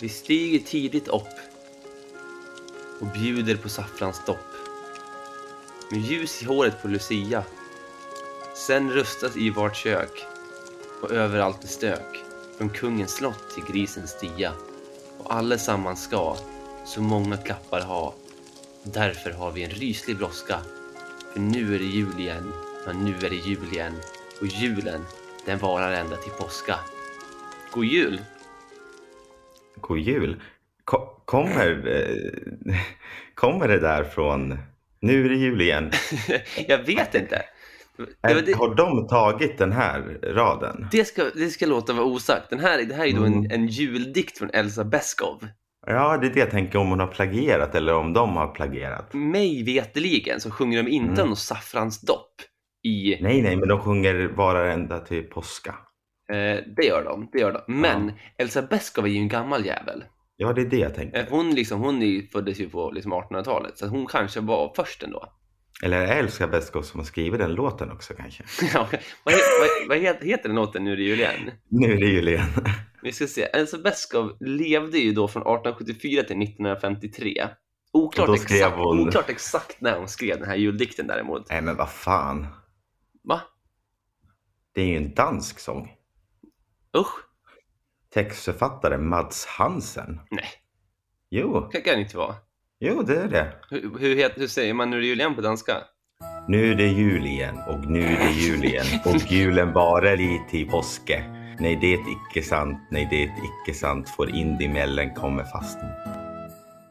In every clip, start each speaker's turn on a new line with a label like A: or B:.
A: Vi stiger tidigt upp och bjuder på saffransdopp. Med ljus i håret på Lucia. Sen rustas i vart kök och överallt är stök. Från kungens slott till grisens stia. Och allesammans ska så många klappar ha. Därför har vi en ryslig brådska. För nu är det jul igen. Ja, nu är det jul igen. Och julen, den varar ända till påska. God jul!
B: God jul. Ko- Kommer, eh, kommer det där från Nu är det jul igen?
A: Jag vet inte. Det, var
B: Är-
A: det,
B: Har de tagit den här raden?
A: det, ska, det ska låta vara osagt. Den här, det här är då en,
B: Mm.
A: en juldikt från Elsa Beskow.
B: Ja, det är det jag tänker om hon har plagierat eller om de har plagierat.
A: Mig veteligen så sjunger de inte
B: Mm.
A: om något saffransdopp i...
B: Nej, nej, men de sjunger Varar ända till påska.
A: Eh, det gör de, det gör de. Men Elsa Beskow är ju en gammal jävel.
B: Ja, det är det jag tänker.
A: Eh, Hon, liksom, hon är ju- föddes ju på liksom 1800-talet, så att hon kanske var först ändå.
B: Eller är det Elsa Beskow som har skrivit den låten också kanske?
A: Ja, vad he- vad, vad heter, heter den låten nu är det jul igen?
B: Nu är det jul igen.
A: Vi ska se. Elsa Beskow levde ju då från 1874 till 1953. Oklart,
B: Och då skrev
A: exakt,
B: hon-
A: oklart exakt när hon skrev den här juldikten däremot.
B: Nej, men vad fan.
A: Va?
B: Det är ju en dansk sång.
A: Usch,
B: Textförfattare Mads Hansen.
A: Nej.
B: Jo,
A: det kan det inte vara.
B: jo det är det.
A: Hur, hur, het, hur säger man nu är det jul igen på danska?
B: Nu är det jul igen och nu är det jul igen och julen varar i till påske. Nej, det är icke sant, nej, det är icke sant, för in i mällen kommer fasten.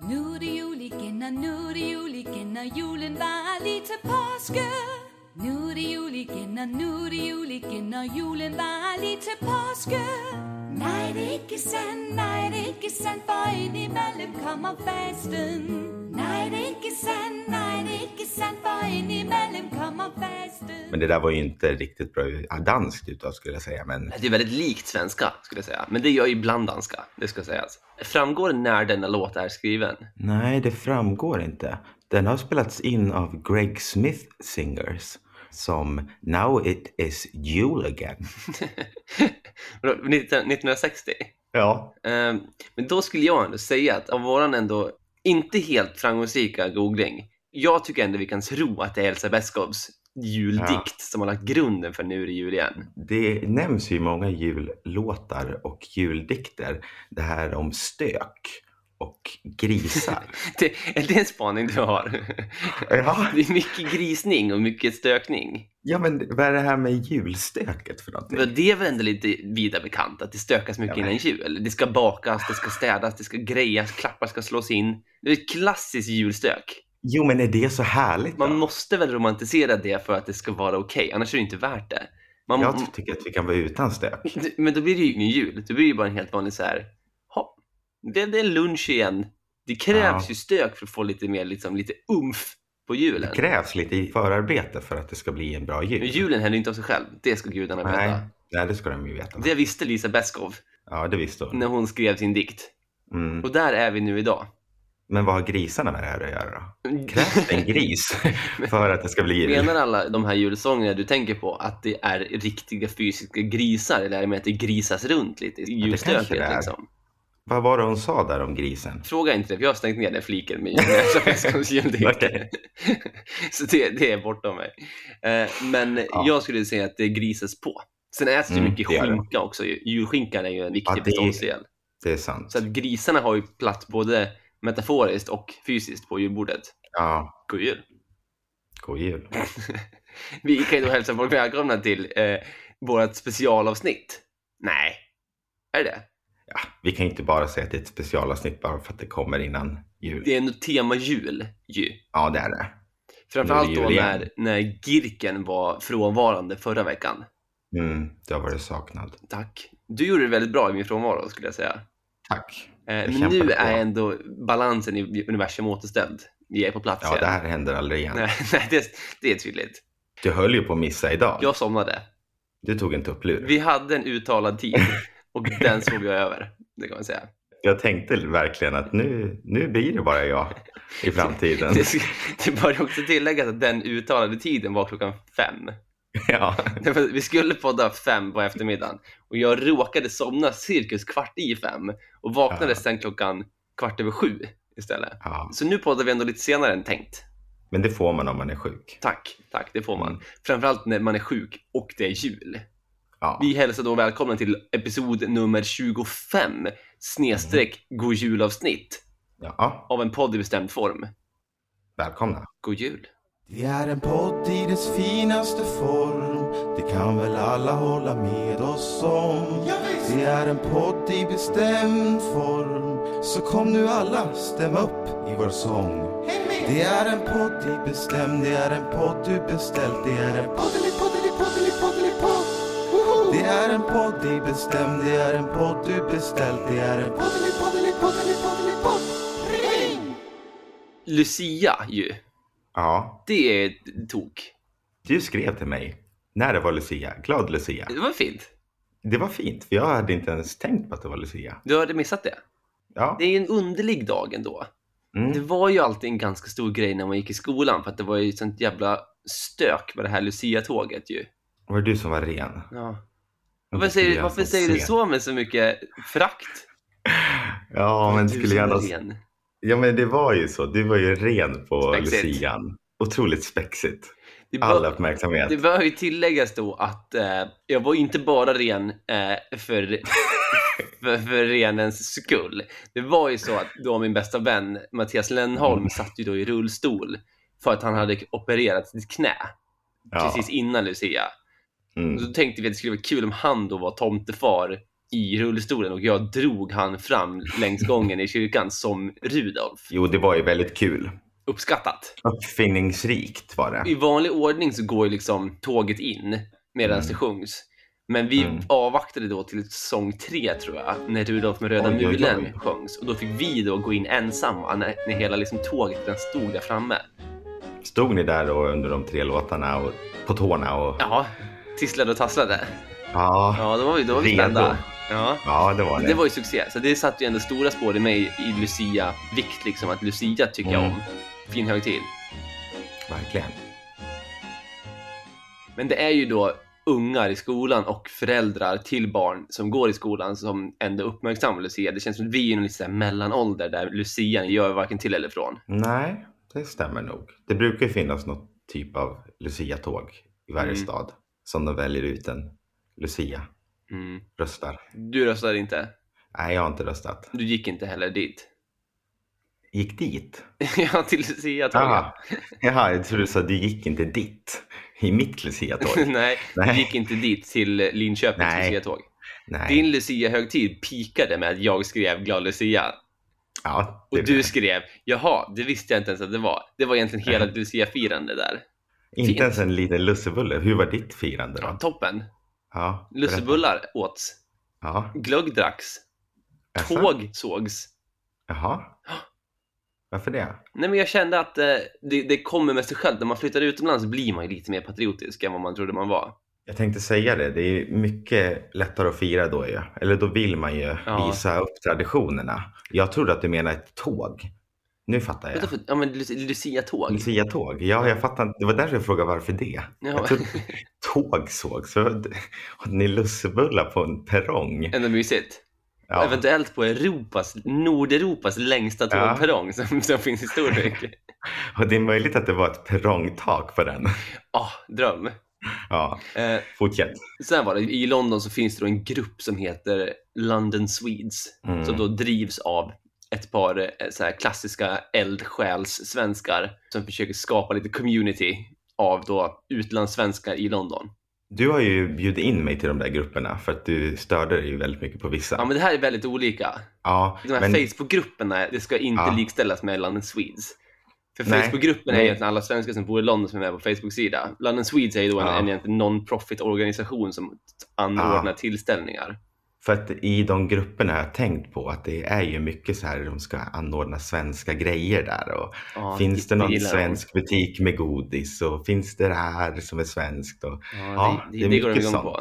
C: Nu är det jul igen och nu är det jul igen och julen varar lige till påske. Nu är det jul igen och nu är det jul igen och julen varar lige till påske. Nej, det är icke sant, nej, det är icke sant, för in emellan kommer fasten. Nej, det är icke sant, nej, det är icke sant, för in emellan kommer fasten.
B: Men det där var ju inte riktigt bra ja, danskt utav skulle jag säga, men
A: Det är väldigt likt svenska skulle jag säga, men det gör ju ibland danska, det ska sägas. Framgår det när denna låt är skriven?
B: nej, det framgår inte. Den har spelats in av Greg Smith Singers som Now It Is Jul Again.
A: Vadå, 19- 1960?
B: Ja.
A: Ehm, Men då skulle jag ändå säga att av våran ändå inte helt framgångsrika googling, jag tycker ändå vi kan tro att det är Elsa Beskows juldikt
B: Ja.
A: som har lagt grunden för Nu är det jul igen.
B: Det nämns ju i många jullåtar och juldikter det här om stök och grisar.
A: Det, är det en spaning du har?
B: ja.
A: Det är mycket grisning och mycket stökning.
B: Ja men vad är det här med julstöket för någonting?
A: Men det är väl ändå lite vida bekant att det stökas mycket
B: Ja, men-
A: innan jul. Det ska bakas, det ska städas, det ska grejas, klappar ska slås in. Det är ett klassiskt julstök.
B: Jo men är det så härligt då?
A: Man måste väl romantisera det för att det ska vara okej, annars är det inte värt det. Man,
B: Jag ty- tycker att vi kan vara utan stök.
A: Men då blir det ju ingen jul. Då blir det ju bara en helt vanlig så här, "Ha, det det är lunch igen. Det krävs
B: Ja.
A: ju stök för att få lite mer liksom, lite umf på
B: Det
A: julen.
B: krävs lite förarbete för att det ska bli en bra jul.
A: Men julen händer inte av sig själv, det ska gudarna
B: Nej.
A: veta.
B: Nej, det ska de ju veta.
A: Det visste Lisa Beskow
B: Ja, det visste hon.
A: när hon skrev sin dikt.
B: Mm.
A: Och där är vi nu idag.
B: Men vad har grisarna med det här att göra då? Krävs det en gris för att det ska bli jul?
A: Menar alla de här julsångerna du tänker på att det är riktiga fysiska grisar eller är det med att det grisas runt lite i
B: det kanske
A: julstöket?
B: det är.
A: liksom?
B: Vad var det hon sa där om grisen?
A: Fråga inte det, för jag har stängt ner den fliken med Elsa Beskows juldikt.
B: Okej.
A: Så det, det är bortom mig. Eh, Men
B: Ja.
A: jag skulle säga att det grisas på. Sen äts det ju
B: Mm,
A: mycket
B: det gör det.
A: skinka också. ju. Julskinkan är ju en
B: Ja,
A: viktig
B: det är-
A: beståndsdel.
B: Det är sant.
A: Så att grisarna har ju platt både metaforiskt och fysiskt på julbordet.
B: Ja,
A: God jul!
B: god jul.
A: Vi kan ju då hälsa folk välkomna till eh, vårt specialavsnitt. Nej, är det det?
B: Ja, vi kan ju inte bara säga att det är ett specialavsnitt bara för att det kommer innan jul.
A: Det är nog tema jul ju.
B: Ja, det är det.
A: Framförallt
B: Nu är det
A: då
B: jul igen.
A: när, när Girken var frånvarande förra veckan.
B: Mm, du har varit saknad.
A: Tack. Du gjorde det väldigt bra i min frånvaro skulle jag säga.
B: Tack.
A: Eh,
B: Jag
A: Men
B: kämpade
A: nu
B: på.
A: är ändå balansen i universum återställd. Vi är på plats
B: Ja, det här händer aldrig igen.
A: Nej, nej det, det är tydligt.
B: Du höll ju på att missa idag.
A: Jag somnade.
B: Du tog en tupplur.
A: Vi hade en uttalad tid och den såg jag över. Det kan man säga.
B: Jag tänkte verkligen att nu, nu blir det bara jag i framtiden.
A: Det, det bör ju också tilläggas att den uttalade tiden var klockan fem.
B: Ja.
A: Nej, för Vi skulle podda fem på eftermiddagen och jag råkade somna cirkus kvart i fem och vaknade
B: Ja.
A: sen klockan kvart över sju istället.
B: ja.
A: Så nu poddar vi ändå lite senare än tänkt.
B: Men det får man om man är sjuk.
A: Tack, tack, det får man.
B: Mm.
A: Framförallt när man är sjuk och det är jul.
B: Ja.
A: Vi hälsar då välkomna till episod nummer 25 snedstreck
B: Mm.
A: god julavsnitt
B: ja.
A: av en podd i bestämd form.
B: Välkomna.
A: God jul.
D: Det är en podd i dess finaste form Det kan väl alla hålla med oss om Det är en podd i bestämd form Så kom nu alla, stäm upp i vår sång Det är en podd i bestämd Det är en podd du beställt Det är en poddelipoddelipoddelipoddelipodd Det är en podd i bestämd Det är en podd du beställt Det är en poddelipoddelipoddelipoddelipodd Ring!
A: Lucia ju,
B: Ja.
A: det är tok.
B: Du skrev till mig när det var Lucia. Glad Lucia.
A: Det var fint.
B: Det var fint, för jag hade inte ens tänkt på att det var Lucia.
A: Du hade missat det.
B: Ja.
A: Det är en underlig dag ändå. Det
B: Mm.
A: var ju alltid en ganska stor grej när man gick i skolan för att det var ju sånt jävla stök med det här Lucia-tåget ju.
B: Var det du som var ren?
A: Ja. Varför säger, du- varför säger du så med så mycket frakt?
B: Ja, men
A: Du
B: skulle
A: som
B: jag
A: är
B: ändå...
A: ren.
B: Ja, men det var ju så. Du var ju ren på
A: Spexigt.
B: lucian. Otroligt spexigt.
A: Det bör-
B: All uppmärksamhet.
A: Det bör ju tilläggas då att eh, jag var ju inte bara ren eh, för, för, för renens skull. Det var ju så att då min bästa vän Mattias Lennholm satt ju då i rullstol för att han hade opererat sitt knä
B: ja.
A: precis innan Lucia.
B: Mm.
A: Så då tänkte vi att det skulle vara kul om han då var tomtefar i rullstolen och jag drog han fram längs gången i kyrkan som Rudolf.
B: Jo, det var ju väldigt kul.
A: Uppskattat.
B: Uppfinningsrikt var det.
A: I vanlig ordning så går ju liksom tåget in medan
B: Mm.
A: det sjungs. Men vi
B: Mm.
A: avvaktade då till sång tre tror jag, när Rudolf med röda
B: Oj, oj, oj.
A: mulen sjöngs. Och då fick vi då gå in ensamma när, när hela liksom tåget den stod där framme.
B: Stod ni där då under de tre låtarna och på tårna och...
A: Ja, tisslade och tasslade.
B: Ja,
A: Ja, då var vi, då var vi
B: Redo.
A: spända. Ja.
B: ja det var det.
A: Det var ju succé, så det satte ju ändå stora spår i mig i Lucia-vikt liksom, att Lucia tycker jag
B: Mm.
A: om. Fin högtid.
B: Verkligen.
A: Men det är ju då ungar i skolan och föräldrar till barn som går i skolan som ändå uppmärksammar Lucia. Det känns som att vi är i någon lite så här mellanålder där Lucian gör varken till eller från.
B: Nej, det stämmer nog. Det brukar ju finnas något typ av luciatåg i varje
A: Mm.
B: stad som de väljer ut en lucia.
A: Mm.
B: Röstar.
A: Du röstade inte.
B: Nej, jag har inte röstat.
A: Du gick inte heller dit.
B: Gick dit?
A: ja, till Lucia tror
B: Jaha,
A: jag.
B: Jaha, jag trodde du sa du gick inte dit. I mitt luciatåg.
A: Nej, du
B: Nej.
A: gick inte dit till Linköpings
B: Nej.
A: Lucia-tåg.
B: Nej.
A: Din Lucia-högtid pikade med att jag skrev glad Lucia.
B: Ja, det
A: Och du skrev, jaha, det visste jag inte ens att det var. Det var egentligen hela Lucia-firande där. fint.
B: Inte ens en liten lussebulle. Hur var ditt firande
A: Ja,
B: då?
A: toppen.
B: Ja, berätta.
A: Lussebullar åts.
B: Ja,
A: Glögg dracks.
B: jaså?
A: Tåg sågs.
B: Jaha. Varför det?
A: Nej men jag kände att eh, det, det kommer med sig själv. När man flyttar utomlands blir man ju lite mer patriotisk än vad man trodde man var.
B: Jag tänkte säga det, det är mycket lättare att fira då ju. Eller då vill man ju
A: Ja.
B: visa upp traditionerna. Jag trodde att du menade ett tåg. Nu fattar
A: Vänta,
B: jag.
A: för- Ja men Lu- Lucia-tåg.
B: Mm. Lucia-tåg. Ja, jag fattar inte. Det var därför jag frågade varför det.
A: Ja,
B: Jag trodde tåg såg. Så hade ni lussebullar på en perrong?
A: ändå mysigt. Och
B: Ja.
A: Eventuellt på Europas, Nordeuropas längsta
B: Ja.
A: tågperrong som, som finns i Storvik.
B: Och det är möjligt att det var ett perrongtak på den.
A: Ah, dröm.
B: Ja,
A: Eh,
B: fortsätt.
A: Sen var det, i London så finns det då en grupp som heter London Swedes
B: Mm.
A: som då drivs av ett par eh, så här klassiska eldsjäls-svenskar som försöker skapa lite community av då utlandssvenskar i London.
B: Du har ju bjudit in mig till de där grupperna för att du störde dig ju väldigt mycket på vissa.
A: Ja, men det här är väldigt olika.
B: Ja,
A: De här
B: men-
A: Facebookgrupperna, det ska inte
B: Ja.
A: likställas med London Swedes. För
B: Nej.
A: Facebookgruppen är
B: Nej.
A: egentligen alla svenskar som bor i London som är med på Facebook-sida. London Swedes är ju då en,
B: Ja.
A: en egentligen non-profit organisation som anordnar tillställningar.
B: För att i de grupperna har jag tänkt på att det är ju mycket så här de ska anordna svenska grejer där. Och
A: Ja,
B: finns det någon
A: gillar de.
B: svensk butik med godis och finns det det här som är svenskt? Och,
A: Ja,
B: Ja,
A: det,
B: det
A: det,
B: är
A: det går de
B: mycket
A: igång
B: sånt.
A: på.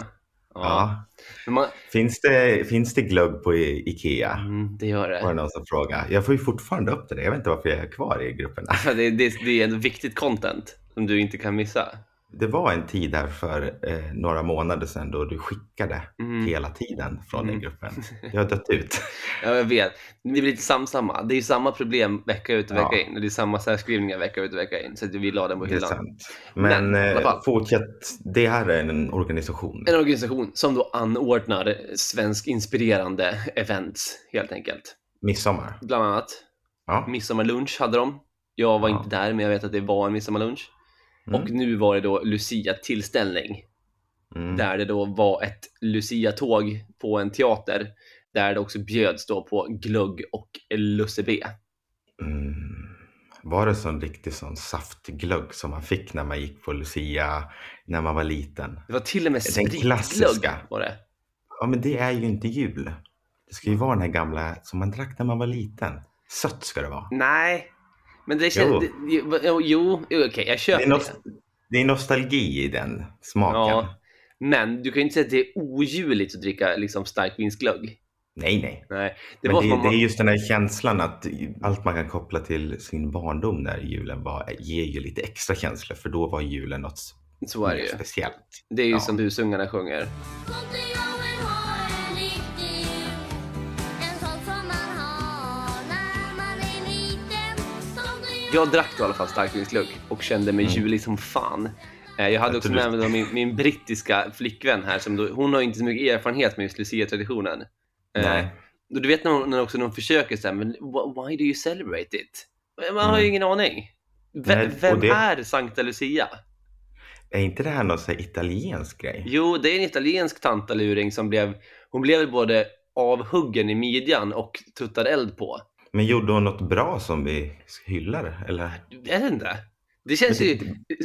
B: ja.
A: Ja. Men man,
B: Finns, det, finns det glögg på I- Ikea?
A: mm, det gör
B: Var
A: det.
B: det någon som frågade. Jag får ju fortfarande upp det där. Jag vet inte varför jag är kvar i grupperna.
A: För det, det. Det är ändå viktigt content som du inte kan missa.
B: Det var en tid här för eh, några månader sedan då du skickade
A: Mm.
B: hela tiden från den
A: Mm.
B: gruppen. Jag har dött ut.
A: Ja, jag vet. Det blir lite sam samma. Det är ju samma problem vecka ut och vecka
B: Ja.
A: in. Och det är samma särskrivningar vecka ut och vecka in. Så att vi la den på
B: Det är
A: hyllan.
B: sant. Men,
A: Men, i alla fall.
B: eh, fortsätt. Det här är en organisation.
A: En organisation som då anordnar svensk inspirerande events helt enkelt.
B: Midsommar.
A: Bland annat
B: Ja.
A: midsommarlunch hade de. Jag var
B: Ja.
A: inte där, men jag vet att det var en midsommarlunch.
B: Mm.
A: Och nu var det då Lucia-tillställning,
B: Mm.
A: där det då var ett Lucia-tåg på en teater, där det också bjöds då på glögg och Lusse B.
B: Mm. Var det sån riktig sån saftglögg som man fick när man gick på Lucia när man var liten?
A: Det var till och med
B: Den
A: spritglögg
B: klassiska.
A: var det.
B: Ja, men det är ju inte jul. Det ska ju vara den här gamla som man drack när man var liten. Sött ska det vara.
A: Nej, men det känns...
B: Jo.
A: Jo, jo, jo okej, jag
B: Det
A: köper
B: är,
A: det.
B: nost- det är nostalgi i den smaken.
A: Ja. Men du kan ju inte säga att det är ojuligt att dricka liksom, stark vinstglögg.
B: Nej, nej.
A: Nej, det
B: Det,
A: var som
B: men det,
A: om
B: det
A: man...
B: är just den här känslan att allt man kan koppla till sin barndom när julen var ger ju lite extra känslor för då var julen något
A: Så är det
B: mer
A: ju.
B: speciellt.
A: Det är ju
B: Ja.
A: som husungarna sjunger.
E: Sånt är jag vill ha en riktig En sån som man har när man är liten Sånt är jag
A: Jag drack då i alla fall starkvinslugg och kände
B: Mm.
A: mig julig som fan. Eh, Jag hade också
B: tror
A: med mig då min, min brittiska flickvän här. Som då, hon har ju inte så mycket erfarenhet med just Lucia-traditionen. Eh,
B: Nej.
A: Och du vet när, hon, när också de försöker så här, men wh- why do you celebrate it? Man har ju
B: Mm.
A: ingen aning. V-
B: Nej, och
A: vem
B: det-
A: är Sankta Lucia?
B: Är inte det här någon sån här italiensk grej?
A: Jo, det är en italiensk tantaluring som blev, hon blev väl både avhuggen i midjan och tuttad eld på.
B: Men gjorde hon något bra som vi hyllar? Eller?
A: Jag vet inte. Det känns
B: Men
A: ju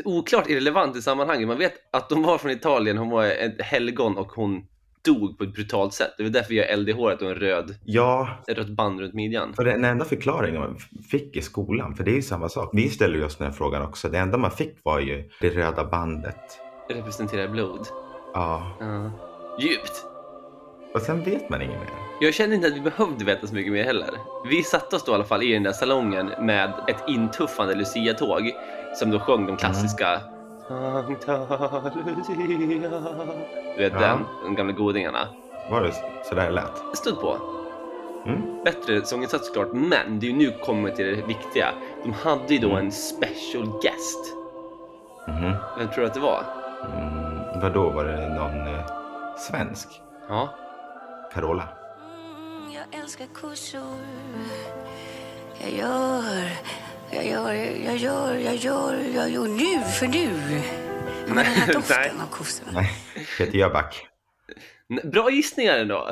A: oklart irrelevant i sammanhanget. Man vet att de var från Italien, hon var ett helgon och hon dog på ett brutalt sätt. Det var därför jag har eld i håret och en röd,
B: Ja,
A: ett rött band runt midjan.
B: för den enda förklaringen man fick i skolan, för det är ju samma sak. Vi ställer ju oss den här frågan också. Det enda man fick var ju det röda bandet.
A: Representerar blod.
B: Ja,
A: Ja. Djupt.
B: och sen vet man inget mer.
A: Jag kände inte att vi behövde veta så mycket mer heller. Vi satte oss då i alla fall i den där salongen med ett intuffande Lucia-tåg som då sjöng de klassiska Sankta Lucia. Du vet
B: Ja.
A: den, de gamla godingarna.
B: Var det sådär det lät?
A: Stod på.
B: Mm.
A: bättre sånginsats såklart, men det är ju nu kommer till det viktiga. De hade ju då en special guest.
B: Mhm.
A: Vem tror du att det var?
B: Mm, vadå, var det någon eh, svensk?
A: Ja.
B: Carola?
F: Mm, Jag älskar kossor. Jag gör, jag gör, jag gör, jag gör, jag gör nu för nu. Ja, Men den här doften av kossor.
B: Nej, Peter Jöback.
A: N- Bra gissningar ändå.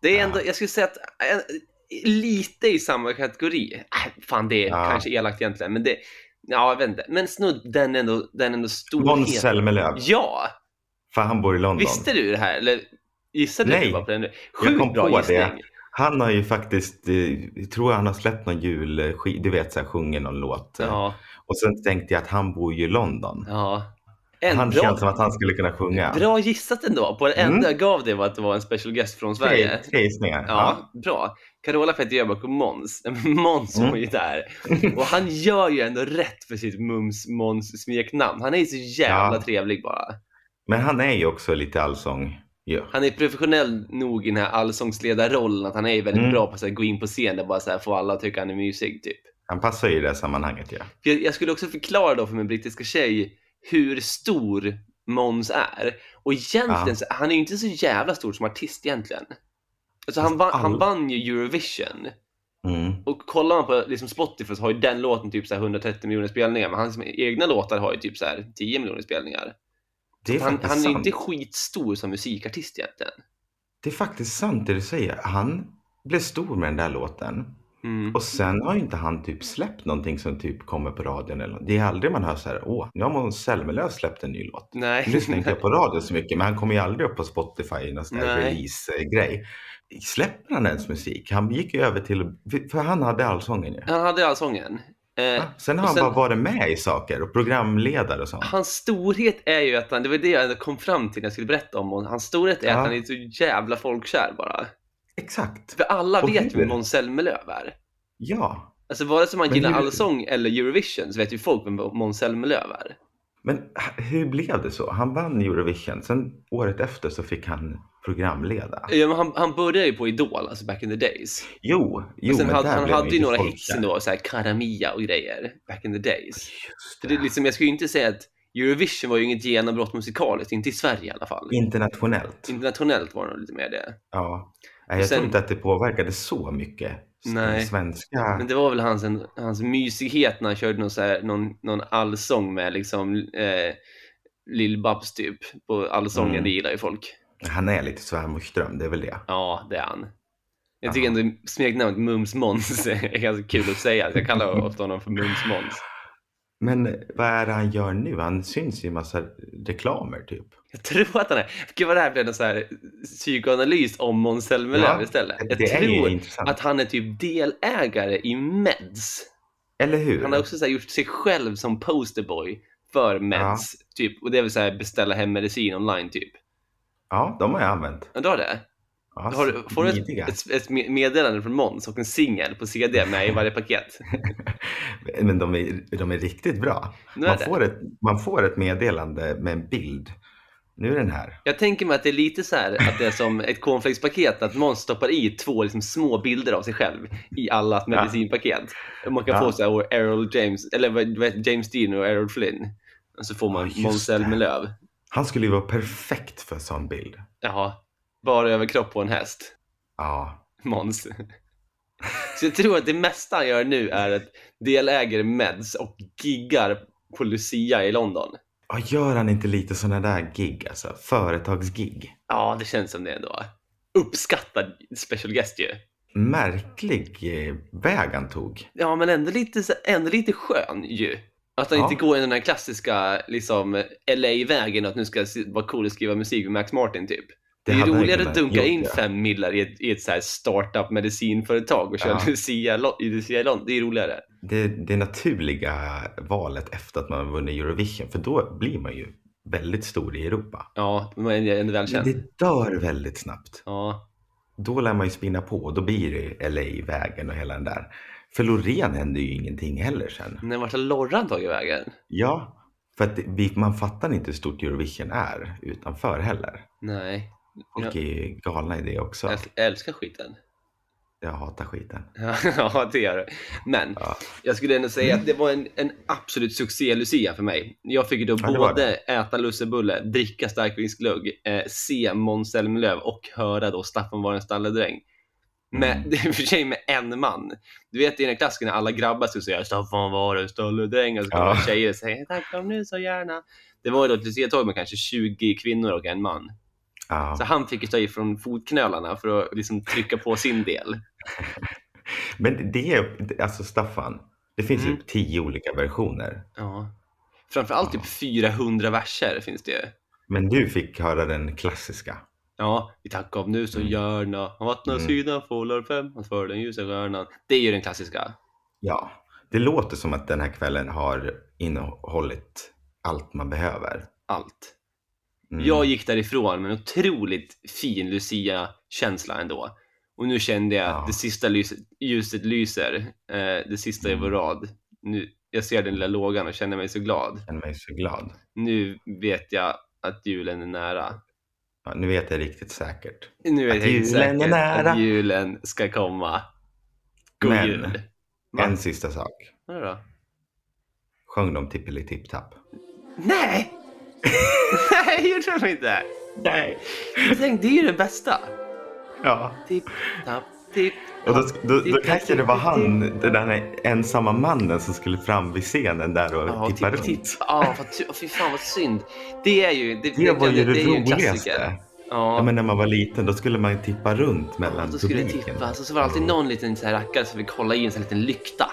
A: Det är
B: Ja.
A: ändå, jag skulle säga att eh, lite i samma kategori. Äh, fan, det är
B: Ja.
A: kanske elakt egentligen, men det, ja, jag vet inte. Men snudd, den är ändå, den är ändå stor.
B: Måns Zelmerlöw.
A: Ja,
B: För han bor i London.
A: visste du det här? Eller gissade
B: Nej.
A: du bara på den?
B: Jag
A: Sjukt
B: kom
A: bra
B: på
A: gissning.
B: det. Han har ju faktiskt, eh, jag tror han har släppt någon julskiva, du vet så här, sjunger någon låt. eh.
A: Ja,
B: Och sen tänkte jag att han bor ju i London.
A: ja. En
B: han
A: bra
B: känns som att han skulle kunna sjunga.
A: Bra gissat ändå. På det
B: Mm.
A: enda jag gav det var att det var en special guest från Sverige.
B: Tre, tre gissningar.
A: Ja, bra. Carola Petter Jöback och Måns. Måns
B: Mm.
A: var ju där. Och han gör ju ändå rätt för sitt Mums Måns smeknamn. Han är ju så jävla
B: Ja.
A: trevlig bara.
B: Men han är ju också lite allsång. Ja.
A: Han är professionell nog i den här allsångsledarrollen att han är ju väldigt
B: Mm.
A: bra på att så här gå in på scen och bara så här få alla att tycka han är mysig typ.
B: Han passar ju i det här sammanhanget ja.
A: För jag, jag skulle också förklara då för min brittiska tjej hur stor Måns är. Och egentligen,
B: Ja.
A: så, han är ju inte så jävla stor som artist egentligen. Alltså han, vann, han
B: all-
A: vann ju Eurovision.
B: Mm.
A: Och kollar man på liksom Spotify så har ju den låten typ så här 130 miljoner spelningar. Men hans egna låtar har ju typ så här 10 miljoner spelningar.
B: Det är
A: Han,
B: faktiskt
A: han är ju
B: sant.
A: inte skitstor som musikartist egentligen.
B: Det är faktiskt sant det du säger. Han blev stor med den där låten.
A: Mm.
B: Och sen har ju inte han typ släppt någonting som typ kommer på radion eller något. Det är aldrig man hör så här, åh, nu har Måns Zelmerlöw släppt en ny låt.
A: Nej.
B: Nu lyssnar inte jag på radio så mycket, men han kommer ju aldrig upp på Spotify i någon sån här
A: Nej.
B: release-grej. Släpper han ens musik? Han gick ju över till, för han hade allsången ju.
A: Han hade ju allsången. Eh,
B: Sen har
A: och
B: han
A: sen-
B: bara varit med i saker och programledare och sånt.
A: Hans storhet är ju att han, det var det jag kom fram till när jag skulle berätta om honom. Hans storhet är
B: Ja.
A: att han är så jävla folkkär bara. Typ,
B: Exakt.
A: För alla
B: Och
A: vet ju vem
B: hur?
A: Måns Zelmerlöw är.
B: Ja.
A: Alltså vare sig man
B: Men
A: gillar
B: hur?
A: allsång eller Eurovision så vet ju folk vem Måns Zelmerlöw är.
B: Men h- hur blev det så? Han vann Eurovision, sen året efter så fick han programleda.
A: Ja, men han, han började ju på Idol, alltså back in the days.
B: Jo, jo
A: och sen
B: men
A: hade,
B: där
A: han
B: blev
A: hade ju
B: inte
A: några
B: folk
A: hits
B: där.
A: ändå, så här Karamia och grejer, back in the days.
B: Just
A: Så
B: det.
A: det är liksom, jag skulle ju inte säga att Eurovision var ju inget genombrott musikaliskt, inte i Sverige i alla fall.
B: Internationellt.
A: Internationellt var det nog lite mer det.
B: Ja. Nej, jag
A: Sen-
B: tror inte att det påverkade så mycket. s-
A: Nej.
B: Svenska.
A: Men det var väl hans, en, hans mysighet när han körde någon, så här, någon, någon allsång med liksom eh, Lill-Babs typ på allsången,
B: Mm.
A: det gillar ju folk.
B: Han är lite Sven Morström, det är väl det.
A: Ja, det är han. Jag tycker
B: Ja.
A: ändå smeknamnet Mums Måns är ganska kul att säga, så jag kallar ofta honom för Mums Måns.
B: Men vad är det han gör nu? Han syns i en massa reklamer typ.
A: Jag tror att han är... Gud vad det här blev en så här psykoanalys om Måns Zelmerlöw
B: Ja,
A: istället. Jag
B: det är ju
A: tror
B: intressant.
A: att han är typ delägare i Meds.
B: Eller hur?
A: Han har också så här gjort sig själv som posterboy för Meds. Typ. Och det är väl så här beställa hem medicin online typ.
B: Ja, de har jag använt.
A: Ja, du har det?
B: Ja,
A: Har, du- får du ett,
B: smidiga.
A: ett, ett meddelande från Måns och en singel på CD med i varje paket?
B: Men de är, de är riktigt bra.
A: Nu är
B: Man
A: det.
B: får, ett, man får ett meddelande med en bild. Nu är den här.
A: Jag tänker mig att det är lite så här att det är som ett cornflakespaket att Måns stoppar i två liksom, små bilder av sig själv i alla medicinpaket. Och Man kan
B: Ja.
A: få så här, och Errol James, eller vad- vad heter James Dean och Errol Flynn. Och så får man
B: Ja, just
A: Måns
B: det.
A: Zelmerlöw.
B: Han skulle ju vara perfekt för en sån bild.
A: Jaha, bara överkropp på en häst.
B: Ja,
A: Måns. Så jag tror att det mesta han gör nu är att deläger Meds och giggar på Lucia i London.
B: Ja, gör han inte lite såna där gig alltså? Företagsgig.
A: Ja, det känns som det ändå. Uppskattad special guest ju.
B: Märklig eh, väg han tog.
A: Ja, men ändå lite, så- ändå lite skön ju. Att han
B: Ja.
A: inte går i den här klassiska liksom, LA-vägen att nu ska jag se- vara cool och skriva musik med Max Martin typ. Det, är
B: hade
A: ju
B: han
A: roligare att
B: kunnat
A: dunka
B: gjort,
A: in
B: ja.
A: fem millar i ett, i ett så här startup medicinföretag och köra
B: Ja.
A: Lucia, lo- i Lucia i London. Det är ju roligare.
B: Det, det naturliga valet efter att man vunnit Eurovision, för då blir man ju väldigt stor i Europa.
A: Ja, men jag är ändå
B: Men
A: välkänd.
B: det dör väldigt snabbt.
A: Ja.
B: Då lär man ju spinna på och då blir det ju LA-vägen och hela den där. För Loreen händer ju ingenting heller sen.
A: Men vart har Lorran tagit vägen?
B: Ja, för att vi, man fattar inte hur stort Eurovision är utanför heller.
A: Nej,
B: Folk
A: Ja.
B: är ju galna i det också.
A: jag älskar skiten.
B: Jag hatar skiten.
A: ja, det gör det. Men
B: Ja.
A: jag skulle ändå säga att det var en, en absolut succé Lucia för mig. Jag fick ju då
B: Ja, det var
A: både äta lussebulle, dricka starkvinsglögg, eh, se Måns Zelmerlöw och höra då Staffan var en stalledräng. Med,
B: Mm.
A: det är i och för sig med en man. Du vet i den här klassiken när alla grabbar skulle säga Staffan var en stalledräng och så kommer
B: Ja.
A: tjejer och säger tack kom nu så gärna. Det var ju då ett luciatåg med kanske 20 kvinnor och en man.
B: Ja.
A: Så han fick ju ta i från fotknölarna för att liksom trycka på sin del.
B: Men det är, alltså Staffan, det finns
A: Mm.
B: ju tio olika versioner.
A: Ja. Framförallt typ 400 verser finns det ju.
B: Men du fick höra den klassiska.
A: Ja, vi tackar om nu så
B: Mm.
A: gärna. Han vattnar
B: Mm.
A: sidan, fålar fem, han för den ljusa stjärnan. Det är ju den klassiska.
B: Ja, det låter som att den här kvällen har innehållit allt man behöver.
A: Allt.
B: Mm.
A: Jag gick därifrån med en otroligt fin Lucia-känsla ändå. Och nu kände jag
B: Ja.
A: att det sista lyset, ljuset lyser. Eh, det sista i vår
B: Mm.
A: rad. Nu, jag ser den lilla lågan och känner mig så glad.
B: känner mig så glad.
A: Nu vet jag att julen är nära.
B: Ja, nu vet jag riktigt säkert.
A: Nu är
B: Att
A: jag helt
B: julen är
A: säker att
B: nära.
A: julen ska komma. God
B: Men-
A: jul! Va?
B: En sista sak.
A: Vadå då?
B: Sjöng de Tippeli-tipp-tapp?
A: Nej! Nej, gjorde de inte?
B: Nej.
A: Tänk, det är ju det bästa.
B: Ja.
A: Tipp, tapp, tipp.
B: Och då, då, då kanske det var han, den där ensamma mannen som skulle fram vid scenen där och
A: Ja,
B: tippa
A: tipp,
B: runt.
A: tipp. Ja, vad ty- fy fan vad synd. Det är ju... Det,
B: Det var ju det,
A: är ju en klassiker.
B: roligaste. Ja,
A: Ja,
B: men när man var liten då skulle man ju tippa runt mellan
A: då Alltså, skulle det
B: Alltså, publiken.
A: tippa. Så, så var det alltid någon liten så här rackare som fick hålla i en sån här liten lykta.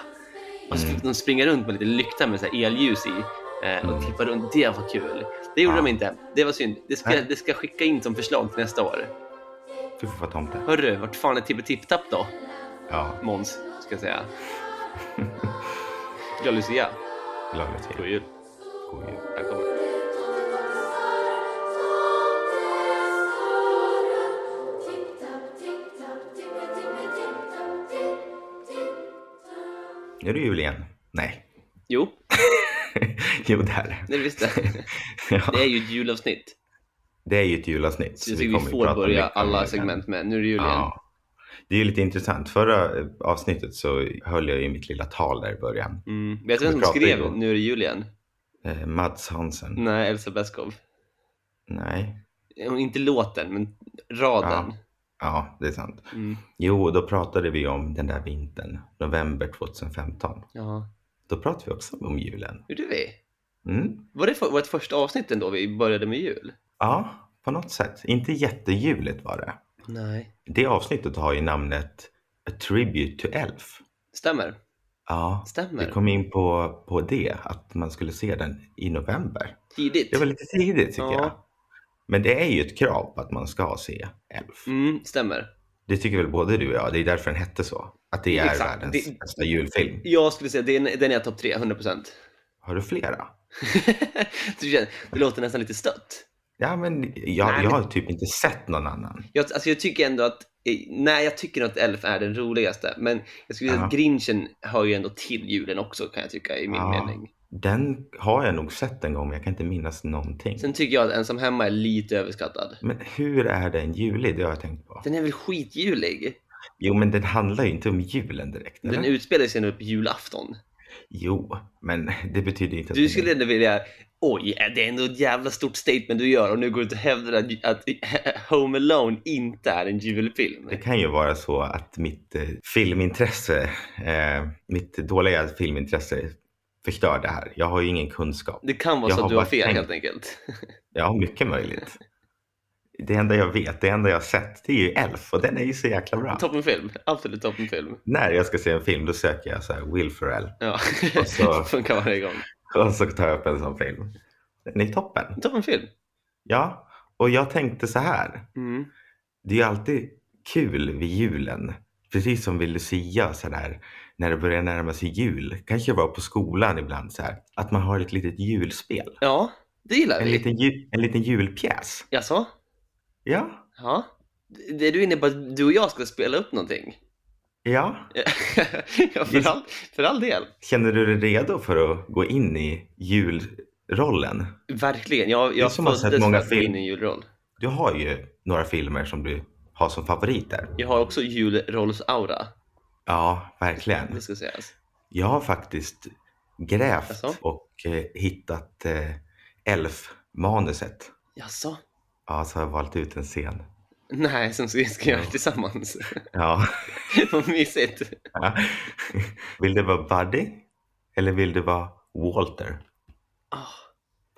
A: Och
B: Mm.
A: så fick de springa runt med lite lykta med så här elljus i. eh, Och tippa runt. Det var kul. Det gjorde
B: Mm. Ja.
A: de inte. Det var synd. Det ska,
B: Nej.
A: det ska jag skicka in som förslag till nästa år.
B: Du får vara tomte.
A: Hörru, vart fan är Tippetipptapp då?
B: Ja,
A: Måns, ska jag säga. Glad Lucia.
B: glad till.
A: God jul.
B: God jul.
A: Välkommen.
B: Nu är det jul igen. Nej.
A: Jo,
B: Jo, det är det.
A: Nej, visst det.
B: Ja.
A: Det är ju ett julavsnitt.
B: Det är ju ett julavsnitt.
A: Så jag
B: vi
A: tycker
B: kommer
A: vi
B: ju
A: får
B: prata
A: börja
B: mycket om
A: alla
B: julen.
A: segment med. Nu är det jul igen.
B: Ja. Det är ju lite intressant. Förra eh, avsnittet så höll jag ju mitt lilla tal där i början.
A: Mm. Vet du vem
B: Vi
A: som
B: pratar
A: skrev
B: ju om-
A: Nu är det jul igen?
B: Eh, Mats Hansen.
A: Nej, Elsa Beskow.
B: Nej.
A: Eh, Inte låten, men raden.
B: Ja, det är sant.
A: Mm.
B: Jo, då pratade vi om den där vintern, november 2015.
A: Ja.
B: Då pratade vi också om julen.
A: Gjorde vi?
B: Mm.
A: Var det för, vårt första avsnitt ändå vi började med jul?
B: Ja, på något sätt. Inte jättejuligt var det.
A: Nej.
B: Det avsnittet har ju namnet A Tribute to Elf.
A: Stämmer.
B: Ja,
A: Stämmer.
B: vi kom in på, på det, att man skulle se den i november.
A: Tidigt.
B: Det var lite tidigt tycker
A: Ja.
B: jag. Men det är ju ett krav på att man ska se Elf.
A: Mm, stämmer.
B: Det tycker väl både du och jag, det är därför den hette så. Att det är
A: Exakt.
B: världens
A: Det-
B: bästa julfilm.
A: Jag skulle säga den, den är topp 3, 100%.
B: Har du flera?
A: Du känner- det låter nästan lite stött.
B: Ja, men jag,
A: Nej,
B: jag
A: men-
B: har typ inte sett någon annan.
A: Jag, alltså jag tycker ändå att, eh, nej jag tycker nog att Elf är den roligaste, men jag skulle säga att
B: Ja.
A: Grinchen hör ju ändå till julen också kan jag tycka i min
B: Ja.
A: mening.
B: Den har jag nog sett en gång, men jag kan inte minnas någonting.
A: Sen tycker jag att Ensam Hemma är lite överskattad.
B: Men hur är den julig? Det har jag tänkt på.
A: Den är väl skitjulig?
B: Jo, men den handlar ju inte om julen direkt.
A: Den
B: eller?
A: utspelar sig nog på julafton.
B: Jo, men det betyder inte att
A: Du
B: den
A: skulle
B: är...
A: ändå vilja, oj, det är ändå ett jävla stort statement du gör och nu går du ut och hävdar att, att Home Alone inte är en julfilm.
B: Det kan ju vara så att mitt eh, filmintresse, eh, mitt dåliga filmintresse förstör det här. Jag har ju ingen kunskap.
A: Det kan vara
B: Jag
A: så
B: har
A: att du har
B: bara
A: fel
B: tänkt.
A: helt enkelt.
B: Ja, mycket möjligt. Det enda jag vet, det enda jag har sett, det är ju Elf och den är ju så jäkla bra.
A: Toppenfilm, absolut toppenfilm.
B: När jag ska se en film då söker jag så här Will Ferrell
A: Ja,
B: Och så-
A: funkar varje gång.
B: och så tar jag upp en sån film. Den är toppen.
A: Toppenfilm.
B: Ja, och jag tänkte så här.
A: Mm.
B: Det är ju alltid kul vid julen. Precis som vid Lucia så där, när det börjar närma sig jul. Kanske var på skolan ibland så här, att man har ett litet julspel.
A: Ja, det gillar
B: En
A: vi.
B: liten, ju, en liten julpjäs.
A: Jaså?
B: Ja,
A: Ja. Det du är inne på att du och jag ska spela upp någonting?
B: ja.
A: ja, för, all, för all del.
B: Känner du dig redo för att gå in i julrollen?
A: Verkligen. Jag,
B: är
A: jag
B: som att ha sett
A: föddes för
B: många
A: att gå in
B: film.
A: i en julroll.
B: Du har ju några filmer som du har som favoriter.
A: Jag har också julrollsaura.
B: Ja,
A: Det
B: verkligen.
A: ska sägas.
B: Jag har faktiskt grävt
A: Jaså?
B: och eh, hittat eh, Elf-manuset.
A: Jaså?
B: Ja, så har jag valt ut en scen.
A: Nej, som vi ska göra tillsammans.
B: Ja.
A: Vad mysigt.
B: Vill det vara Buddy? Eller vill det vara Walter?
A: Ah,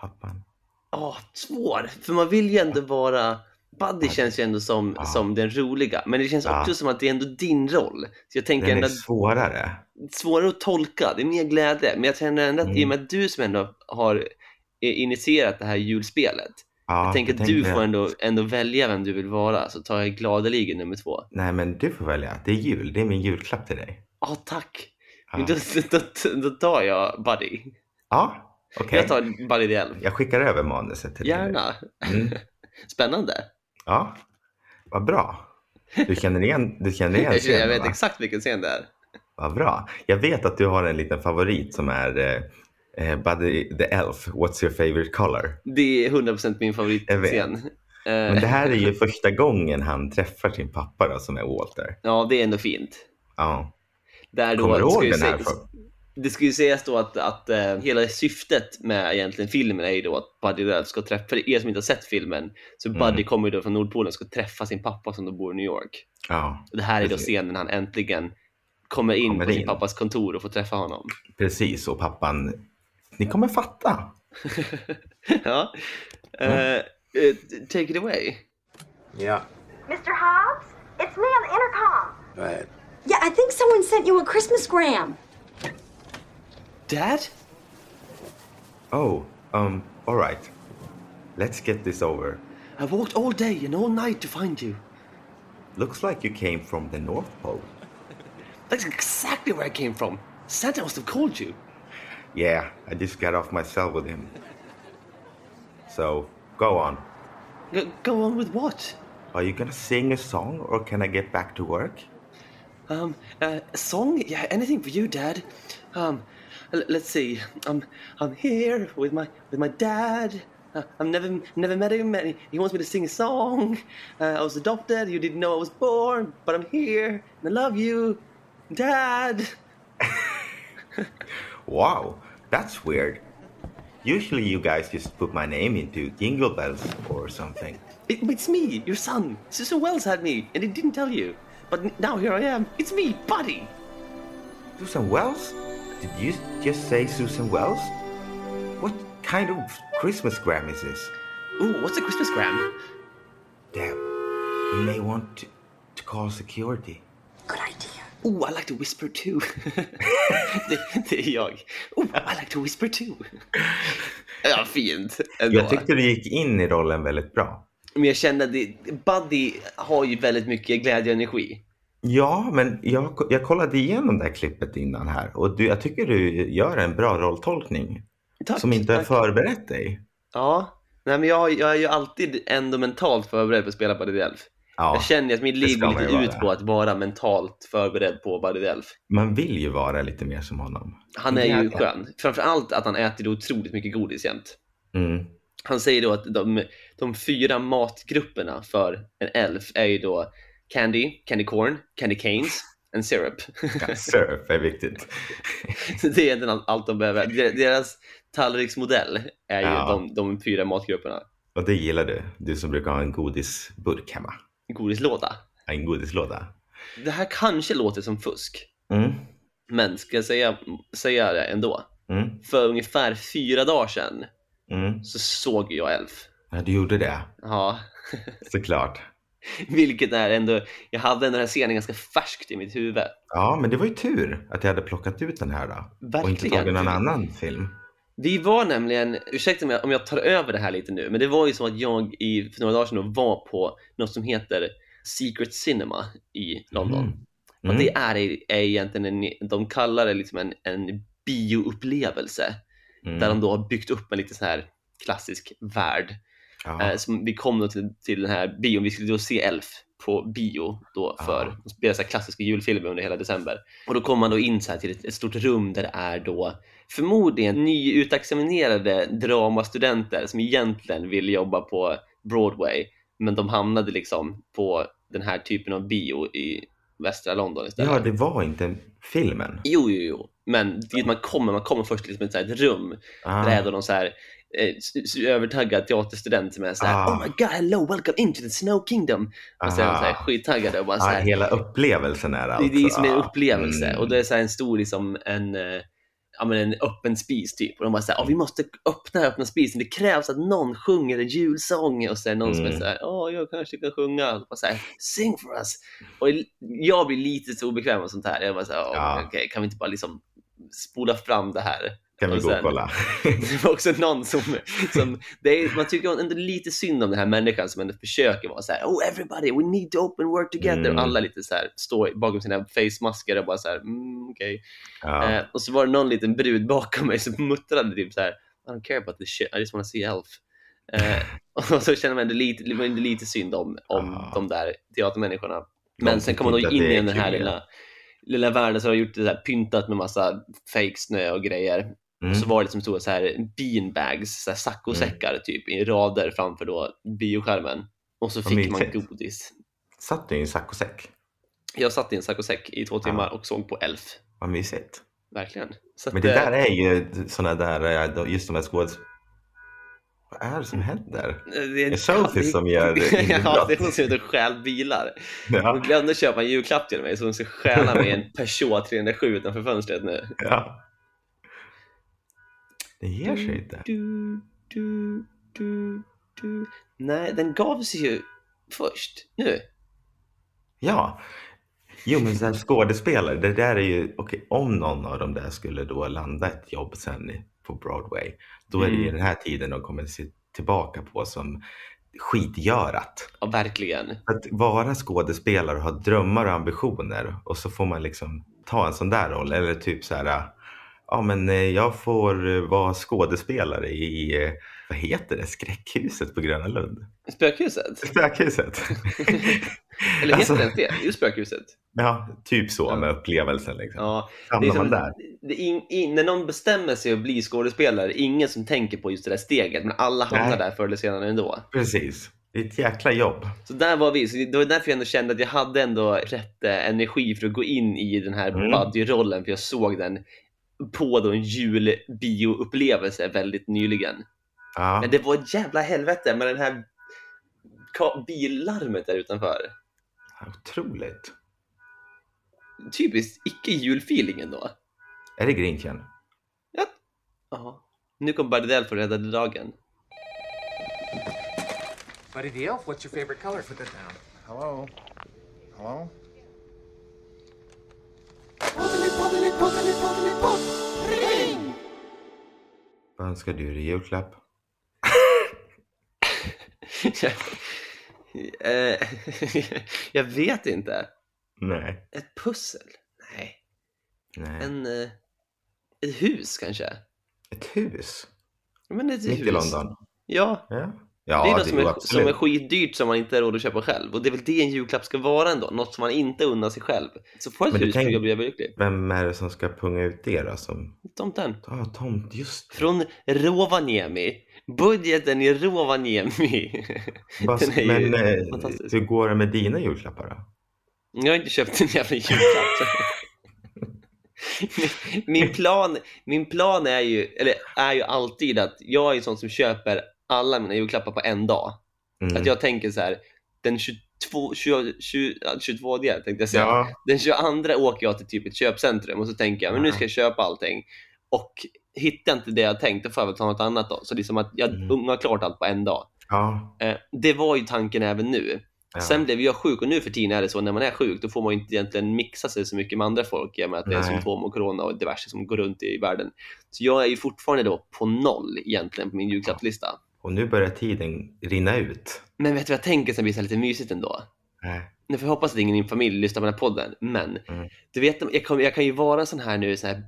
B: Pappan?
A: ah, svår. För man vill ju ändå vara... Buddy känns ju ändå som,
B: Ja.
A: som den roliga. Men det känns
B: Ja.
A: också som att det är ändå din roll. Så jag tänker
B: Den
A: ändå
B: är
A: att
B: svårare.
A: svårare att tolka, det är mer glädje. Men jag känner ändå att i och med att du som ändå har eh, initierat det här julspelet.
B: Ja,
A: jag tänker att
B: jag
A: du
B: tänker-
A: får ändå, ändå välja vem du vill vara, så tar jag gladeligen nummer två.
B: Nej, men du får välja. Det är jul. Det är min julklapp till dig.
A: Ja, Ah, tack!
B: Ja.
A: Men Då, då, då tar jag Buddy.
B: Ja, okej.
A: Jag tar Buddy the Elf.
B: Jag skickar över manuset till dig.
A: Gärna.
B: Mm.
A: Spännande.
B: Ja, vad bra. Du känner igen, du känner igen
A: Jag, känner- jag
B: scenen,
A: vet
B: va?
A: exakt vilken scen det är.
B: Vad bra. Jag vet att du har en liten favorit som är eh, eh, Buddy the Elf, What's your favorite color?
A: Det är 100% min
B: Jag vet.
A: favoritscen.
B: Men det
A: Eh,
B: här är ju första gången han träffar sin pappa då, som är Walter.
A: Ja, det är ändå fint.
B: Ja.
A: Där då,
B: Kommer du
A: det ska ju
B: ihåg den här?
A: sägas-
B: För?
A: Det ska ju sägas då att, att eh, hela syftet med egentligen filmen är ju då att Buddy Ralph ska träffa, för er som inte har sett filmen, så Buddy
B: Mm.
A: kommer ju då från Nordpolen och ska träffa sin pappa som då bor i New York.
B: Ja,
A: Och det här är då
B: Precis.
A: scenen när han äntligen kommer in
B: Kommer
A: på sin
B: in.
A: pappas kontor och får träffa honom.
B: precis. Och pappan, ni kommer fatta.
A: ja. Eh, eh, take it away.
G: Yeah,
H: Mr. Hobbs, it's me on the intercom.
G: go ahead.
H: Yeah, I think someone sent you a Christmas gram.
A: Dad?
B: Oh, um, all right. Let's get this over.
A: I walked all day and all night to find you.
B: Looks like you came from the North Pole.
A: That's exactly where I came from. Santa must have called you.
B: Yeah, I just got off my cell with him. So, go on.
A: Go- go on with what?
B: Are you gonna sing a song or can I get back to work?
A: Um, uh, a song? Yeah, anything for you, Dad. Um, l- let's see. I'm I'm here with my with my dad. Uh, I've never never met him. And he wants me to sing a song. Uh, I was adopted. You didn't know I was born, but I'm here and I love you, Dad.
B: Wow, that's weird. Usually you guys just put my name into jingle bells or something.
A: It, it's me, your son. Sister Wells had me, and he didn't tell you. But n- now here I am. It's me, Buddy.
B: Susan Wells? Did you just say Susan Wells? What kind of Christmas gram is this?
A: Ooh, what's a Christmas gram?
B: Damn, you may want to, to call security.
F: Good idea.
A: Ooh, I like to whisper too. det, det är jag. Ooh, I like to whisper too. ja, fint. ändå.
B: Jag tyckte du gick in i rollen väldigt bra.
A: Men jag känner att det- Buddy har ju väldigt mycket glädje och energi.
B: Ja, men jag, jag kollade igenom det här klippet innan här och du, jag tycker du gör en bra rolltolkning
A: Tack,
B: som inte har
A: tack.
B: förberett dig.
A: Ja. Nej, men jag, jag är ju alltid ändå mentalt förberedd på att spela Buddy the Elf.
B: Ja,
A: jag känner ju att mitt
B: det
A: liv
B: ska
A: går
B: man
A: lite
B: ju
A: ut
B: vara.
A: på att vara mentalt förberedd på Buddy the Elf.
B: man vill ju vara lite mer som honom.
A: Han är ju
B: Jävlar.
A: skön. Framförallt att han äter otroligt mycket godis jämt.
B: Mm.
A: Han säger då att de, de fyra matgrupperna för en elf är ju då candy, candy corn, candy canes and syrup.
B: Ja, Surf är viktigt.
A: Så det är egentligen allt- allt de behöver. Der- Deras tallriksmodell är ju
B: Ja.
A: de, de fyra matgrupperna.
B: Och det gillar du, du som brukar ha en godisburk hemma.
A: Godislåda.
B: En godislåda.
A: Det här kanske låter som fusk,
B: Mm.
A: men ska jag säga, säga det ändå?
B: Mm.
A: För ungefär fyra dagar sedan
B: Mm.
A: så såg jag Elf.
B: Ja, du gjorde det.
A: Ja,
B: Såklart.
A: vilket är ändå, jag hade ändå den här scenen ganska färskt i mitt huvud.
B: Ja, men det var ju tur att jag hade plockat ut den här då. Och inte
A: Verkligen.
B: tagit någon annan film.
A: Vi var nämligen, ursäkta om jag, om jag tar över det här lite nu, men det var ju så att jag i, för några dagar sedan då var på något som heter Secret Cinema i London.
B: Mm.
A: Och
B: Mm.
A: det är, är egentligen, en, de kallar det liksom en, en bioupplevelse
B: Mm.
A: där de då har byggt upp en lite så här klassisk värld. Eh,
B: ja.
A: som vi kom då till, till den här bion, vi skulle då se Elf på bio då
B: Ja.
A: för att spela så här klassiska julfilmer under hela december. Och då kommer man då in så här till ett, ett stort rum där det är då förmodligen nyutexaminerade dramastudenter som egentligen vill jobba på Broadway men de hamnade liksom på den här typen av bio i västra London istället.
B: ja, det var inte filmen.
A: Jo, jo, jo. Men dit man kommer, man kommer först till liksom ett, så här, ett rum
B: Ah.
A: där är då någon så här eh, s- s- övertaggad teaterstudent som är så här
B: Ah.
A: Oh my god, hello, welcome into the snow kingdom. Och sen
B: Aha.
A: så här skittaggade och bara så
B: Ah,
A: här,
B: hela upplevelsen är det
A: det,
B: alltså.
A: det är liksom en
B: Ja.
A: upplevelse.
B: Mm.
A: Och det är så här en stor, liksom en, eh, ja, men en öppen spis typ. Och de bara så här, "Ah, vi måste öppna öppna spisen. Det krävs att någon sjunger en julsång. Och så är det någon som är
B: Mm.
A: så här, åh, jag kanske kan sjunga. Och bara så här, sing for us. Och jag blir lite så obekväm och sånt här. Jag bara så här, "Åh,
B: Ja.
A: okej, kan vi inte bara liksom spola fram det här?
B: Kan vi
A: och
B: gå och
A: sen-
B: kolla?
A: Det var också någon som, som det är, man tycker ändå lite synd om den här människan som ändå försöker vara så här, oh everybody, we need to open work together.
B: Mm.
A: Och alla lite så här, står bakom sina facemasker och bara så här, mm, okej.
B: Ja.
A: Eh, och så var det någon liten brud bakom mig som muttrade typ så här, I don't care about this shit, I just wanna see Elf. Eh, och så känner man ändå lite, det var ändå lite synd om, om
B: Ja.
A: de där teatermänniskorna.
B: De
A: Men sen
B: tycker
A: kommer man då
B: inte
A: in
B: att det
A: i
B: är
A: den här
B: kul.
A: lilla, lilla världen som har gjort det så här, pyntat med massa fake snö och grejer.
B: Mm.
A: Så var det som stora så här beanbags, så här saccosäckar typ i rader framför då bioskärmen. Och så
B: Vad
A: fick man
B: mysigt.
A: godis.
B: Satt du i en saccosäck?
A: Jag satt i en saccosäck i två timmar och såg på Elf.
B: Vad mysigt.
A: Verkligen. Så
B: Men
A: att,
B: det
A: eh,
B: där är ju såna där, eh, just de här skådes... Vad är det som händer?
A: eh, Det
B: är Sophie som gör
A: Ja,
B: inbrott.
A: det är hon som är ute och stjäl bilar. Hon
B: Ja,
A: glömde köpa en julklapp till mig så hon ska stjäla mig en Peugeot 307 utanför fönstret nu.
B: ja. Det ger sig inte.
A: Du, du, du, du. Nej, den gavs ju först. Nu.
B: Ja. Jo, men sen skådespelare, det där är ju... Okej, om någon av dem där skulle då landa ett jobb sen i- på Broadway, då är det ju
A: Mm.
B: den här tiden de kommer se tillbaka på som skitgörat.
A: Ja, verkligen.
B: Att vara skådespelare och ha drömmar och ambitioner och så får man liksom ta en sån där roll eller typ så här, ja men eh, jag får eh, vara skådespelare i eh, vad heter det, skräckhuset på Gröna Lund?
A: Spökhuset?
B: Spökhuset.
A: Eller heter
B: Alltså-
A: det ens det? Det är ju spökhuset.
B: ja, typ så
A: Ja.
B: med upplevelsen. Liksom.
A: Ja, det är
B: Hamnar
A: som,
B: man där?
A: Det är in, in, när någon bestämmer sig att bli skådespelare, det är ingen som tänker på just det där steget, men alla hamnar
B: Nej.
A: där förr eller senare ändå.
B: Precis. Det är ett jäkla jobb.
A: Så där var vi. Så det var därför jag ändå kände att jag hade ändå rätt eh, energi för att gå in i den här
B: Mm.
A: Buddy-rollen, för jag såg den på då en julbioupplevelse väldigt nyligen.
B: Ja.
A: Men det var ett jävla helvete med den här ka- billarmet där utanför.
B: Otroligt.
A: Typiskt icke-julfeeling ändå.
B: Är det Grinchen?
A: Ja. Nu kom Bardell för att rädda dagen.
G: Buddy the Elf, what's your favorite color for the town?
D: Hello? Hello?
B: Vad önskar du dig i julklapp?
A: Eh, jag vet inte.
B: Nej.
A: Ett pussel? Nej.
B: Nej.
A: En, eh, ett hus kanske?
B: Ett hus?
A: Ja, Men ett
B: Mitt
A: hus.
B: i London?
A: Ja.
B: Ja.
A: det är
B: Ja,
A: något som
B: ju
A: är, som är
B: absolut.
A: skitdyrt som man inte har råd att köpa själv. Och det är väl det en julklapp ska vara ändå. Något som man inte unnar sig själv. Så får jag
B: Men
A: ett
B: du
A: hus
B: tänk-
A: tänk... jag blir lycklig.
B: Vem är det som ska punga ut det då? Som...
A: Tomten.
B: Ah, tomt, just det.
A: Från Rovaniemi. Budgeten i Rovaniemi.
B: Vad-
A: den är ju
B: Men eh,
A: fantastisk.
B: hur går det med dina julklappar då?
A: Jag har inte köpt en jävla julklapp. Min- min, plan, min plan är ju, eller är ju alltid att jag är ju sån som köper alla mina julklappar på en dag.
B: Mm.
A: Att jag tänker så här, den 22, 20, 20, ja, 22 tänkte jag säga.
B: Ja,
A: Den 22 åker jag till typ ett köpcentrum och så tänker jag, men nu ska jag köpa allting. Och hittar jag inte det jag tänkt, då får jag väl ta något annat då. Så det är som att jag
B: Mm.
A: ungar klart allt på en dag.
B: ja,
A: Eh, det var ju tanken även nu.
B: ja.
A: Sen blev jag sjuk och nu för tiden är det så när man är sjuk då får man ju inte egentligen mixa sig så mycket med andra folk i och med att det är
B: Nej.
A: symptom och corona och diverse som går runt i världen. Så jag är ju fortfarande då på noll egentligen på min julklappslista.
B: Och nu börjar tiden rinna ut. Äh,
A: Men vet du vad jag tänker som blir så här lite mysigt ändå?
B: Nej.
A: Nu får jag hoppas att ingen i min familj lyssnar på den här podden, men
B: Mm.
A: du vet, jag, kommer- jag kan ju vara sån här nu, sån här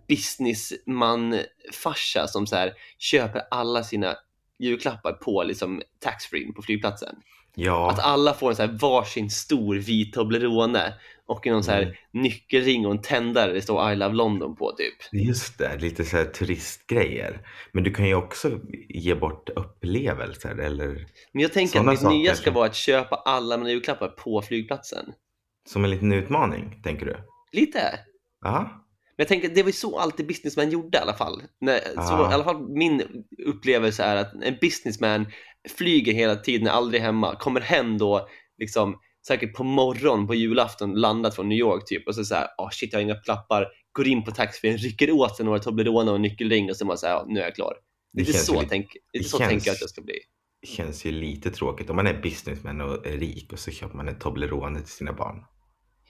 A: businessman-farsa som så här, köper alla sina julklappar på liksom taxfree på flygplatsen.
B: Ja,
A: Att alla får en så här varsin stor vit Toblerone och någon så här
B: Mm.
A: nyckelring och en tändare det står I love London på typ.
B: just det. Lite så här turistgrejer. Men du kan ju också ge bort upplevelser eller
A: Men jag tänker
B: Såna
A: att mitt
B: saker,
A: nya
B: alltså.
A: ska vara att köpa alla mina julklappar på flygplatsen.
B: som en liten utmaning, tänker du?
A: Lite.
B: Ja,
A: Men jag tänker att det var ju så alltid businessman gjorde i alla fall. När, så,
B: Ah.
A: I alla fall min upplevelse är att en businessman flyger hela tiden, är aldrig hemma, kommer hem då liksom säkert på morgon på julafton, landat från New York typ och så såhär, ah shit jag har inga klappar, går in på taxfree, rycker åt sig några Toblerone och en nyckelring och så bara såhär, ah, nu är jag klar.
B: det,
A: Lite
B: känns,
A: så,
B: ju, li-
A: tänk, lite
B: det
A: så
B: känns-
A: tänker jag att jag ska bli.
B: känns ju lite tråkigt. Om man är businessman och är rik och så köper man en Toblerone till sina barn.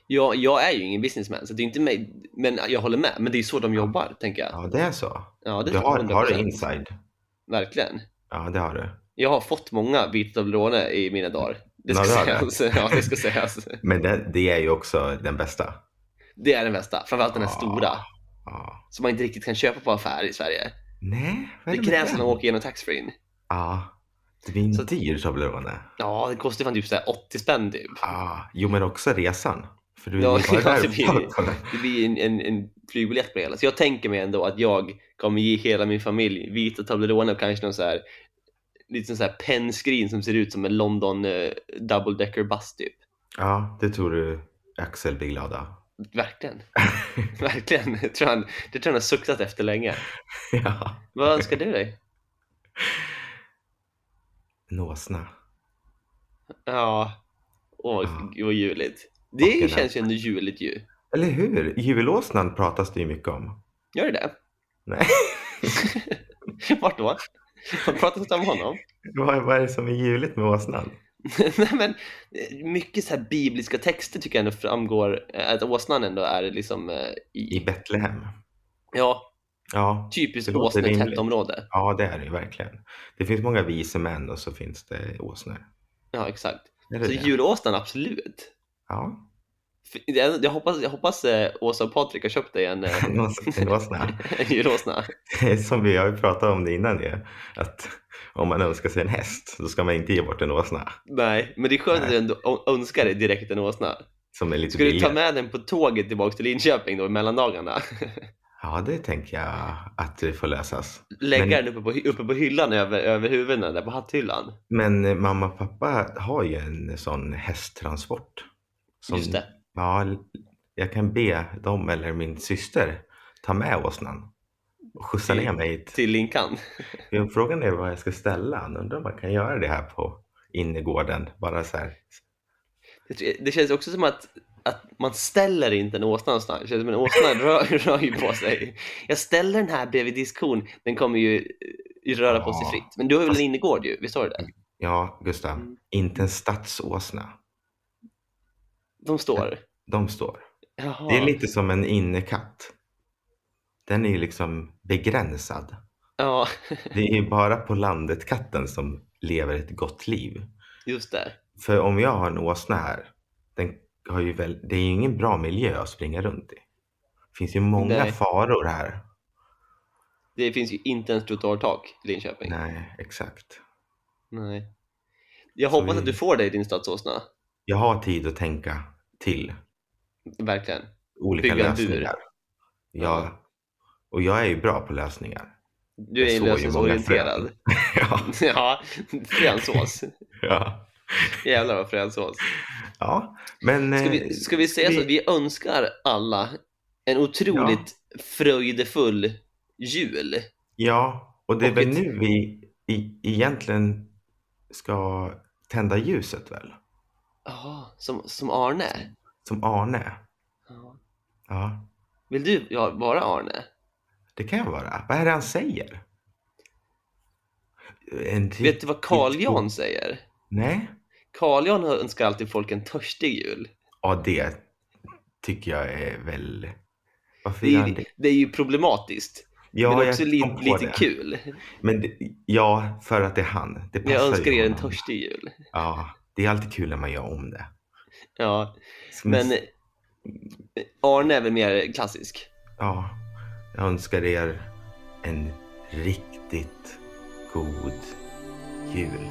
A: Jag, jag är ju ingen businessman, så det är inte mig, men jag håller med, men det är så de jobbar, tänker jag.
B: Ja, det är så.
A: Ja, det
B: Du har, har du
A: 100%.
B: inside.
A: Verkligen.
B: Ja, det har du.
A: Jag har fått många vita Toblerone i mina dagar. Det ska
B: Ja, det har
A: sägas. Ja, det ska sägas.
B: Men det, det är ju också den bästa.
A: Det är den bästa. Framförallt den här
B: Ja.
A: stora.
B: Ja.
A: Som man inte riktigt kan köpa på affär i Sverige.
B: Nej, vad är
A: Det
B: med
A: krävs att man
B: den?
A: åker igenom taxfree.
B: Ja. Det blir en
A: Så-
B: dyr Toblerone.
A: Ja, det kostar fan typ så här 80 spänn typ.
B: Ah, jo, men också resan. För du
A: Ja,
B: är ju bara
A: ja,
B: där
A: det blir-
B: och-
A: Det blir en, en, en flygbiljett på det hela. Så jag tänker mig ändå att jag kommer ge hela min familj vita Toblerone och kanske någon så här liten så här pennscreen som ser ut som en London eh, double decker bus typ.
B: Ja, det tror du Axel blir glad av.
A: Verkligen. Verkligen. Det tror jag han, det tror jag han har suktat efter länge.
B: ja.
A: Vad önskar du dig?
B: En åsna.
A: Ja. Åh,
B: Ja.
A: gud vad juligt. Det
B: Och en
A: känns ju ändå juligt ju.
B: Eller hur? Julåsnan pratas det ju mycket om.
A: Gör det det?
B: Nej,
A: Vart då? Har du pratat om honom?
B: vad, vad är det som är juligt med åsnan?
A: Nej men, eh, mycket så här bibliska texter tycker jag ändå framgår eh, att åsnan ändå är liksom eh,
B: I
A: i,
B: Betlehem.
A: ja,
B: Ja,
A: typiskt
B: Det låter
A: åsnetätt
B: rimligt.
A: område.
B: ja, det är det ju verkligen. Det finns många vise män och så finns det åsnor.
A: Ja, exakt.
B: Är det
A: Så
B: det?
A: julåsnan, absolut.
B: Ja.
A: F- Jag jag hoppas, jag hoppas eh, Åsa och Patrik har köpt dig en, eh,
B: Det var så- det var såna.
A: en gyråsna.
B: Som vi har ju pratat om det innan ju. Att om man önskar sig en häst, då ska man inte ge bort en åsna.
A: Nej, men det är skönt att du
B: Nej.
A: ändå ö- önskar dig direkt en åsna.
B: Som är lite
A: Ska du ta
B: billigare.
A: med den på tåget tillbaka till Linköping då i mellandagarna?
B: Ja, det tänker jag att det får lösas.
A: Lägga
B: Men-
A: den uppe på, hy- uppe på hyllan över, över huvudena där på hatthyllan.
B: Men eh, mamma och pappa har ju en sån hästtransport. Som,
A: Just det.
B: Ja, l- jag kan be dem eller min syster ta med åsnan och skjutsa
A: Till-
B: ner mig hit.
A: Till Linkan.
B: Jag Frågan är vad jag ska ställa. Jag Undrar om man kan göra det här på innergården. Bara så här.
A: Det, det känns också som att, att man ställer inte en åsna någonstans. Det känns som en åsna rör, rör ju på sig. Jag ställer den här bredvid diskon, den kommer ju eh, röra på sig
B: Ja.
A: fritt. Men du har väl en innergård ju, visst har du det?
B: Ja, Gustav.
A: Mm.
B: Inte en stadsåsna.
A: De står.
B: De står.
A: Jaha.
B: Det är lite som en innekatt. Den är ju liksom begränsad.
A: Ja,
B: Det är ju bara på landet katten som lever ett gott liv.
A: just det.
B: För om jag har en åsna här, den har ju väl, det är ju ingen bra miljö att springa runt i. Det finns ju många
A: Nej.
B: faror här.
A: Det finns ju inte ens trottoartak i Linköping.
B: Nej, exakt.
A: Nej. Jag
B: Så
A: hoppas
B: vi-
A: att du får det i din stadsåsna.
B: Jag har tid att tänka till
A: Verkligen.
B: olika
A: Bygga en bur.
B: lösningar. Ja, och jag är ju bra på lösningar.
A: Du
B: Jag
A: är
B: såg ju
A: lösningsorienterad.
B: många ja,
A: ja, fränsås.
B: ja.
A: Jävlar vad fränsås.
B: ja, men...
A: Ska vi,
B: eh,
A: ska vi säga så att vi önskar alla en otroligt fröjdefull jul?
B: Ja, och det är
A: Och
B: väl
A: ett-
B: nu vi i, egentligen ska tända ljuset väl?
A: Jaha, som, som Arne?
B: Som Arne.
A: Ja.
B: Ja,
A: Vill du ja, vara Arne?
B: det kan jag vara. Vad är det han säger? En ty-
A: Vet du vad Carl Jan säger?
B: Nej?
A: Carl Jan önskar alltid folk en törstig jul.
B: Ja, det tycker jag är väl... Varför
A: Det
B: gör
A: är,
B: han
A: ju-
B: det?
A: det är ju problematiskt,
B: Ja,
A: men
B: jag
A: också
B: kom
A: li,
B: på
A: lite
B: det.
A: kul.
B: Men det, ja, för att det är han. Det passar
A: Jag önskar
B: ju
A: er en
B: honom.
A: törstig jul.
B: Ja, det är alltid kul när man gör om det.
A: Ja,
B: Som en
A: men Arne är väl mer klassisk.
B: Ja, jag önskar er en riktigt god jul.